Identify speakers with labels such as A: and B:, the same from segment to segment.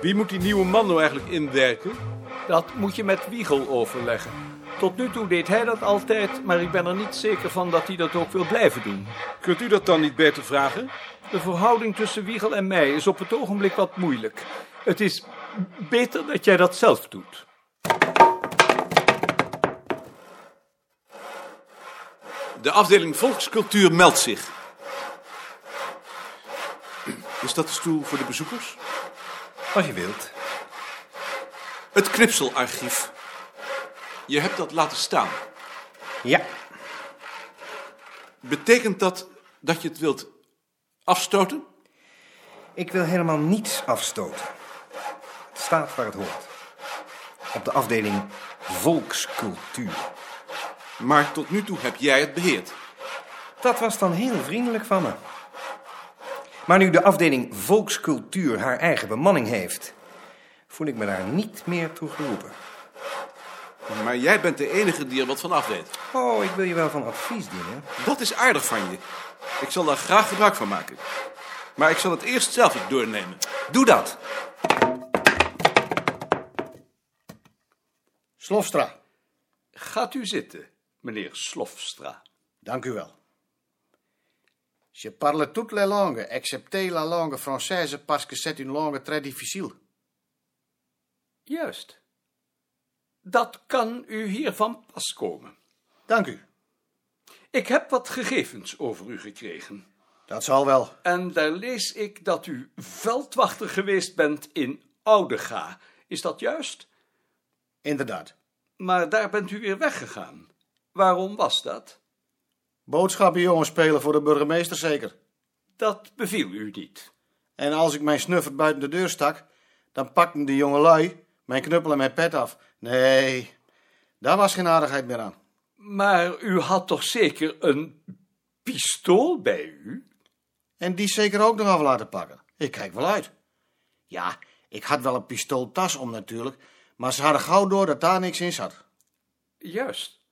A: Wie moet die nieuwe man nou eigenlijk inwerken?
B: Dat moet je met Wiegel overleggen. Tot nu toe deed hij dat altijd, maar ik ben er niet zeker van dat hij dat ook wil blijven doen.
A: Kunt u dat dan niet beter vragen?
B: De verhouding tussen Wiegel en mij is op het ogenblik wat moeilijk. Het is beter dat jij dat zelf doet.
A: De afdeling volkscultuur meldt zich. Is dat de stoel voor de bezoekers?
C: Als je wilt.
A: Het knipselarchief. Je hebt dat laten staan.
C: Ja.
A: Betekent dat dat je het wilt afstoten?
C: Ik wil helemaal niets afstoten. Het staat waar het hoort. Op de afdeling volkscultuur.
A: Maar tot nu toe heb jij het beheerd.
C: Dat was dan heel vriendelijk van me. Maar nu de afdeling volkscultuur haar eigen bemanning heeft, voel ik me daar niet meer toe geroepen.
A: Maar jij bent de enige die er wat van af weet.
C: Oh, ik wil je wel van advies dienen.
A: Dat is aardig van je. Ik zal daar graag gebruik van maken. Maar ik zal het eerst zelf eens doornemen.
C: Doe dat.
D: Slofstra,
B: Gaat u zitten, meneer Slofstra.
D: dank u wel. Je parle toutes les langues, excepté la langue française, parce que c'est une langue très difficile.
B: Juist. Dat kan u hier van pas komen.
D: Dank u.
B: Ik heb wat gegevens over u gekregen.
D: Dat zal wel.
B: En daar lees ik dat u veldwachter geweest bent in Oudega. Is dat juist?
D: Inderdaad.
B: Maar daar bent u weer weggegaan. Waarom was dat?
D: Boodschappen jongens spelen voor de burgemeester zeker.
B: Dat beviel u niet.
D: En als ik mijn snuffert buiten de deur stak, dan pakten de jongelui mijn knuppel en mijn pet af. Nee, daar was geen aardigheid meer aan.
B: Maar u had toch zeker een pistool bij u?
D: En die zeker ook nog af laten pakken. Ik kijk wel uit. Ja, ik had wel een pistooltas om natuurlijk, maar ze hadden gauw door dat daar niks in zat.
B: Juist.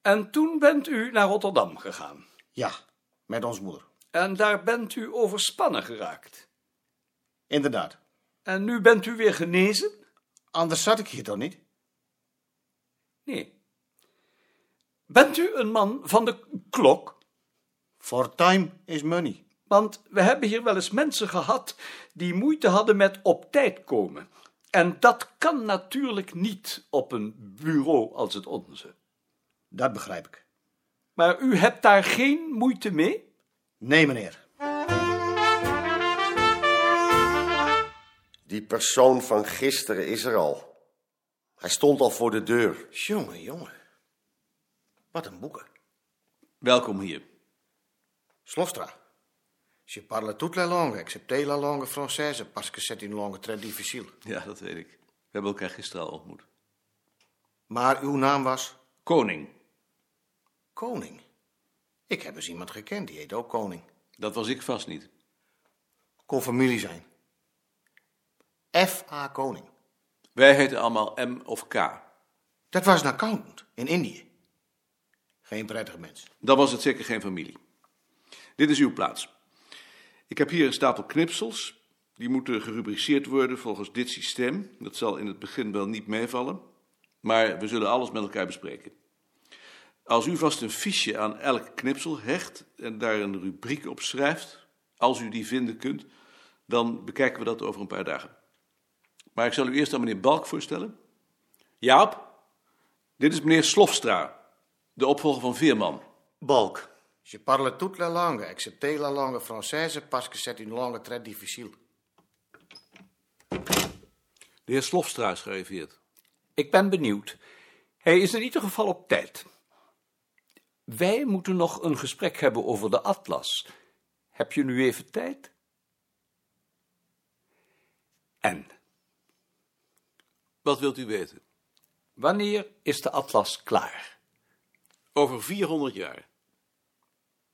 B: En toen bent u naar Rotterdam gegaan.
D: Ja, met ons moeder.
B: En daar bent u overspannen geraakt.
D: Inderdaad.
B: En nu bent u weer genezen?
D: Anders zat ik hier toch niet?
B: Nee. Bent u een man van de klok?
D: For time is money.
B: Want we hebben hier wel eens mensen gehad die moeite hadden met op tijd komen. En dat kan natuurlijk niet op een bureau als het onze.
D: Dat begrijp ik.
B: Maar u hebt daar geen moeite mee?
D: Nee, meneer.
E: Die persoon van gisteren is er al. Hij stond al voor de deur.
C: Jongen, jongen. Wat een boeken.
A: Welkom hier.
D: Slofstra. Je parle toutes les langues, excepté la langue française, parce que c'est une langue très difficile.
A: Ja, dat weet ik. We hebben elkaar gisteren al ontmoet.
D: Maar uw naam was
A: Koning.
D: Koning. Ik heb eens iemand gekend, die heet ook Koning.
A: Dat was ik vast niet.
D: Kon familie zijn. F.A. Koning.
A: Wij heten allemaal M of K.
D: Dat was een accountant in Indië. Geen prettig mens.
A: Dan was het zeker geen familie. Dit is uw plaats. Ik heb hier een stapel knipsels. Die moeten gerubriceerd worden volgens dit systeem. Dat zal in het begin wel niet meevallen. Maar we zullen alles met elkaar bespreken. Als u vast een fiche aan elk knipsel hecht en daar een rubriek op schrijft, als u die vinden kunt, dan bekijken we dat over een paar dagen. Maar ik zal u eerst aan meneer Balk voorstellen. Jaap, dit is meneer Slofstra, de opvolger van Veerman.
C: Balk.
D: Je parle toutes les langues, excepté la langue française, parce que c'est une langue très difficile.
A: De heer Slofstra is gearriveerd.
B: Ik ben benieuwd. Hij is in ieder geval op tijd. Wij moeten nog een gesprek hebben over de atlas. Heb je nu even tijd? En
A: Wat wilt u weten?
B: wanneer is de atlas klaar?
A: Over 400 jaar.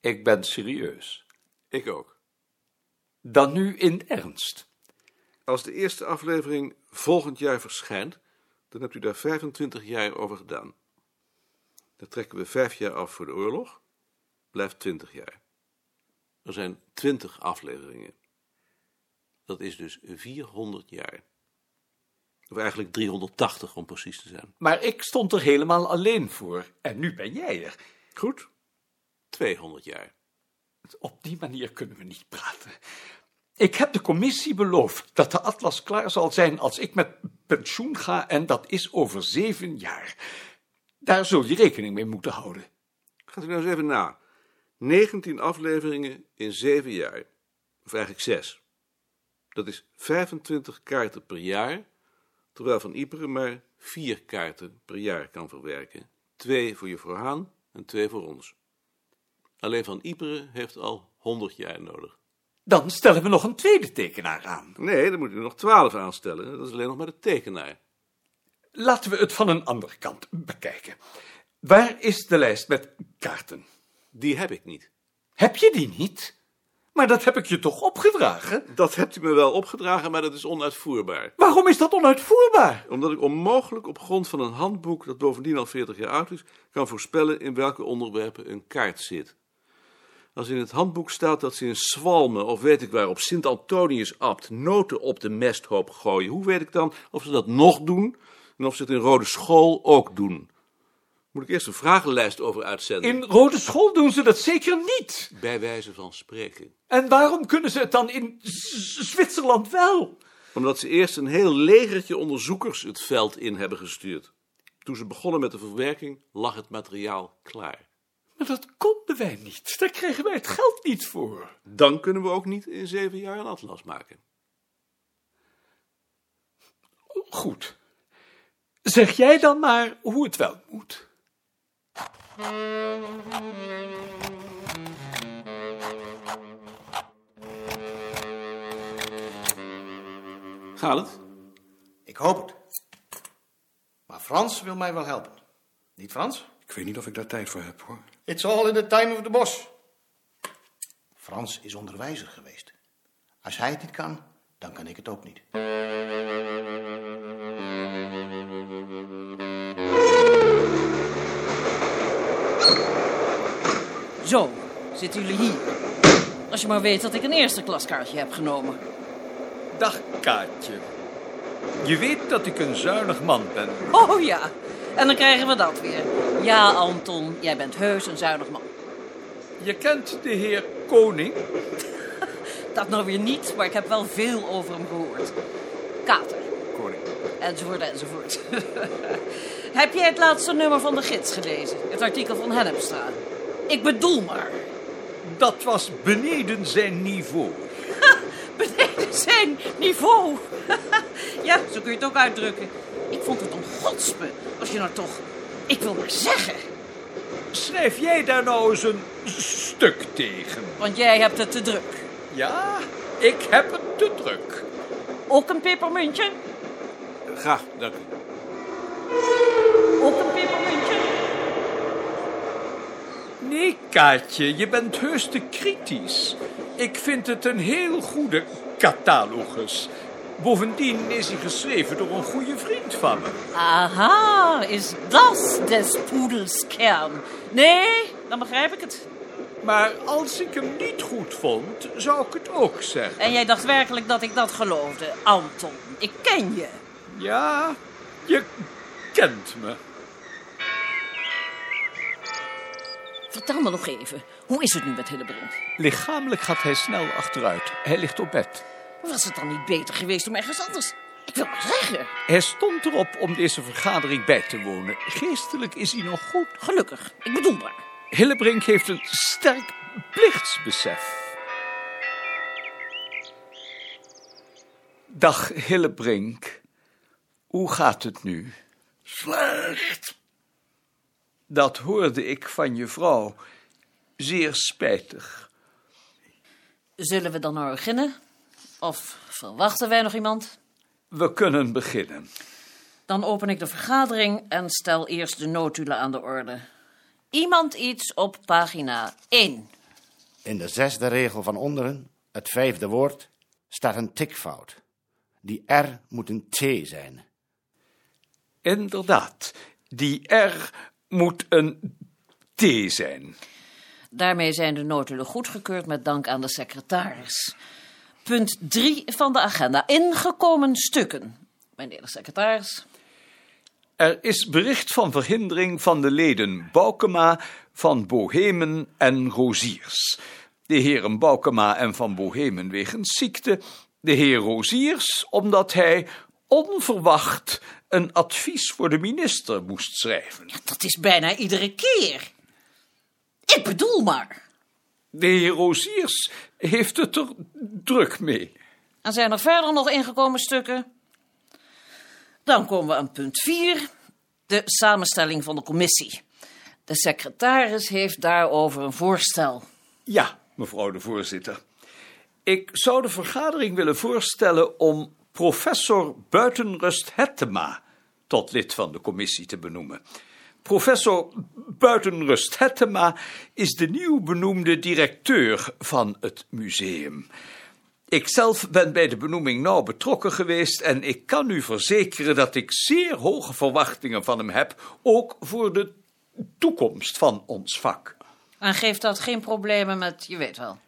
B: Ik ben serieus.
A: Ik ook.
B: Dan nu in ernst.
A: Als de eerste aflevering volgend jaar verschijnt, dan hebt u daar 25 jaar over gedaan. Dan trekken we 5 jaar af voor de oorlog, blijft 20 jaar. Er zijn 20 afleveringen. Dat is dus 400 jaar. Of eigenlijk 380 om precies te zijn.
B: Maar ik stond er helemaal alleen voor. En nu ben jij er.
A: Goed? 200 jaar.
B: Op die manier kunnen we niet praten. Ik heb de commissie beloofd dat de atlas klaar zal zijn als ik met pensioen ga en dat is over zeven jaar. Daar zul je rekening mee moeten houden.
A: Gaat u nou eens even na. 19 afleveringen in 7 jaar. Of eigenlijk 6. Dat is 25 kaarten per jaar, terwijl Van Iperen maar 4 kaarten per jaar kan verwerken. Twee voor juffrouw Haan en twee voor ons. Alleen Van Iperen heeft al 100 jaar nodig.
B: Dan stellen we nog een tweede tekenaar aan.
A: Nee, dan moet u nog 12 aanstellen. Dat is alleen nog maar de tekenaar.
B: Laten we het van een andere kant bekijken. Waar is de lijst met kaarten?
A: Die heb ik niet.
B: Heb je die niet? Maar dat heb ik je toch opgedragen?
A: Dat hebt u me wel opgedragen, maar dat is onuitvoerbaar.
B: Waarom is dat onuitvoerbaar?
A: Omdat ik onmogelijk op grond van een handboek dat bovendien al 40 jaar oud is, kan voorspellen in welke onderwerpen een kaart zit. Als in het handboek staat dat ze in Zwalmen of weet ik waar op Sint Antonius Abt noten op de mesthoop gooien, hoe weet ik dan of ze dat nog doen en of ze het in Rode School ook doen? Moet ik eerst een vragenlijst over uitzenden?
B: In Rode School doen ze dat zeker niet.
A: Bij wijze van spreken.
B: En waarom kunnen ze het dan in Z- Zwitserland wel?
A: Omdat ze eerst een heel legertje onderzoekers het veld in hebben gestuurd. Toen ze begonnen met de verwerking lag het materiaal klaar.
B: Maar dat konden wij niet. Daar kregen wij het geld niet voor.
A: Dan kunnen we ook niet in zeven jaar een atlas maken.
B: Goed. Zeg jij dan maar hoe het wel moet.
A: Gaat het?
D: Ik hoop het. Maar Frans wil mij wel helpen. Niet Frans?
F: Ik weet niet of ik daar tijd voor heb, hoor.
D: It's all in the time of the boss. Frans is onderwijzer geweest. Als hij het niet kan, dan kan ik het ook niet.
G: Zo, zitten jullie hier. Als je maar weet dat ik een eerste klaskaartje heb genomen.
B: Dag, Kaatje. Je weet dat ik een zuinig man ben.
G: Oh ja, en dan krijgen we dat weer. Ja, Anton, jij bent heus een zuinig man.
B: Je kent de heer Koning.
G: Dat nou weer niet, maar ik heb wel veel over hem gehoord. Kater,
B: Koning.
G: enzovoort, enzovoort. heb jij het laatste nummer van de gids gelezen? Het artikel van Hennepstra. Ik bedoel maar,
B: Dat was beneden zijn niveau.
G: beneden zijn niveau. ja, zo kun je het ook uitdrukken. Ik vond het om godsme, als je nou toch... Ik wil maar zeggen...
B: Schrijf jij daar nou eens een stuk tegen?
G: Want jij hebt het te druk.
B: Ja, ik heb het te druk.
G: Ook een pepermuntje?
A: Graag, dank u.
G: Ook een pepermuntje?
B: Nee, Kaatje, je bent heus te kritisch. Ik vind het een heel goede catalogus. Bovendien is hij geschreven door een goede vriend van me.
G: Aha, is dat des poedels kern? Nee, dan begrijp ik het.
B: Maar als ik hem niet goed vond, zou ik het ook zeggen.
G: En jij dacht werkelijk dat ik dat geloofde, Anton. Ik ken je.
B: Ja, je kent me.
G: Vertel me nog even, hoe is het nu met Hillebrand?
B: Lichamelijk gaat hij snel achteruit. Hij ligt op bed.
G: Was het dan niet beter geweest om ergens anders? Ik wil maar zeggen.
B: Hij stond erop om deze vergadering bij te wonen. Geestelijk is hij nog goed.
G: Gelukkig, ik bedoel maar.
B: Hillebrink heeft een sterk plichtsbesef. Dag Hillebrink. Hoe gaat het nu? Slecht. Dat hoorde ik van je vrouw. Zeer spijtig.
G: Zullen we dan nou beginnen? Of verwachten wij nog iemand?
B: We kunnen beginnen.
G: Dan open ik de vergadering en stel eerst de notulen aan de orde. Iemand iets op pagina 1.
E: In de zesde regel van onderen, het vijfde woord, staat een tikfout. Die R moet een T zijn.
B: Inderdaad, die R moet een T zijn.
G: Daarmee zijn de notulen goedgekeurd met dank aan de secretaris. Punt 3 van de agenda. Ingekomen stukken. Mijn eerlijk secretaris.
B: Er is bericht van verhindering van de leden Boukema, Van Bohemen en Roziers. De heren Boukema en Van Bohemen wegens ziekte. De heer Roziers omdat hij onverwacht een advies voor de minister moest schrijven.
G: Dat is bijna iedere keer. Ik bedoel maar.
B: De heer Roziers heeft het er druk mee.
G: En zijn er verder nog ingekomen stukken? Dan komen we aan punt 4. De samenstelling van de commissie. De secretaris heeft daarover een voorstel.
B: Ja, mevrouw de voorzitter. Ik zou de vergadering willen voorstellen om professor Buitenrust Hettema tot lid van de commissie te benoemen. Professor Buitenrust Hettema is de nieuw benoemde directeur van het museum. Ikzelf ben bij de benoeming nauw betrokken geweest en ik kan u verzekeren dat ik zeer hoge verwachtingen van hem heb, ook voor de toekomst van ons vak.
G: En geeft dat geen problemen met, je weet wel.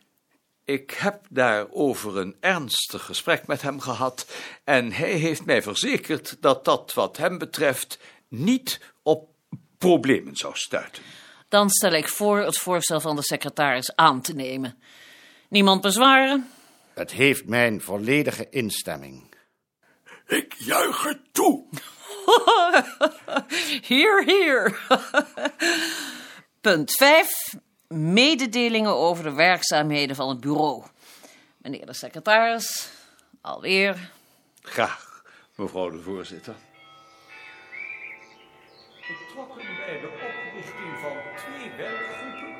B: Ik heb daarover een ernstig gesprek met hem gehad en hij heeft mij verzekerd dat dat wat hem betreft niet op problemen zou stuiten.
G: Dan stel ik voor het voorstel van de secretaris aan te nemen. Niemand bezwaren?
E: Het heeft mijn volledige instemming.
F: Ik juich het toe.
G: Hier, hier. Punt 5. Mededelingen over de werkzaamheden van het bureau. Meneer de secretaris, alweer.
B: Graag, mevrouw de voorzitter. Betrokken bij de oprichting van twee werkgroepen: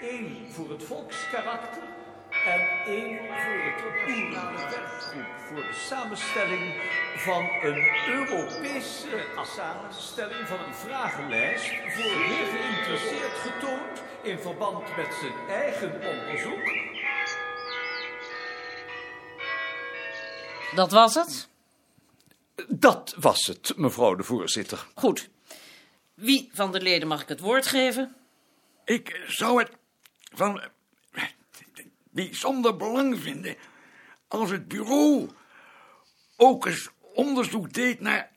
B: één voor het volkskarakter en één voor het oerende werkgroep voor de samenstelling van een Europese samenstelling van een vragenlijst voor heer geïnteresseerd getoond in verband met zijn eigen onderzoek.
G: Dat was het.
B: Dat was het, mevrouw de voorzitter.
G: Goed. Wie van de leden mag ik het woord geven?
F: Ik zou het van eh, bijzonder belang vinden als het bureau ook eens onderzoek deed naar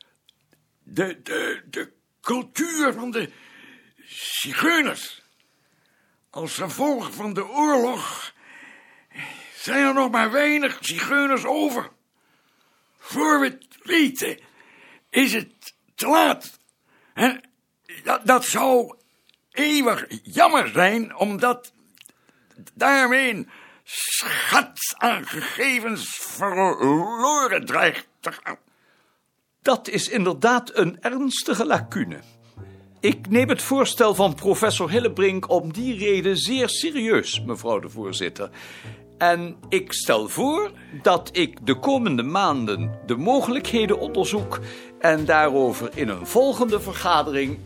F: de, de, de cultuur van de zigeuners. Als gevolg van de oorlog zijn er nog maar weinig zigeuners over. Voor we het weten is het te laat. En dat, dat zou eeuwig jammer zijn, omdat daarmee een schat aan gegevens verloren dreigt te gaan.
B: Dat is inderdaad een ernstige lacune. Ik neem het voorstel van professor Hillebrink om die reden zeer serieus, mevrouw de voorzitter. En ik stel voor dat ik de komende maanden de mogelijkheden onderzoek en daarover in een volgende vergadering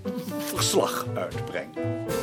B: verslag uitbreng.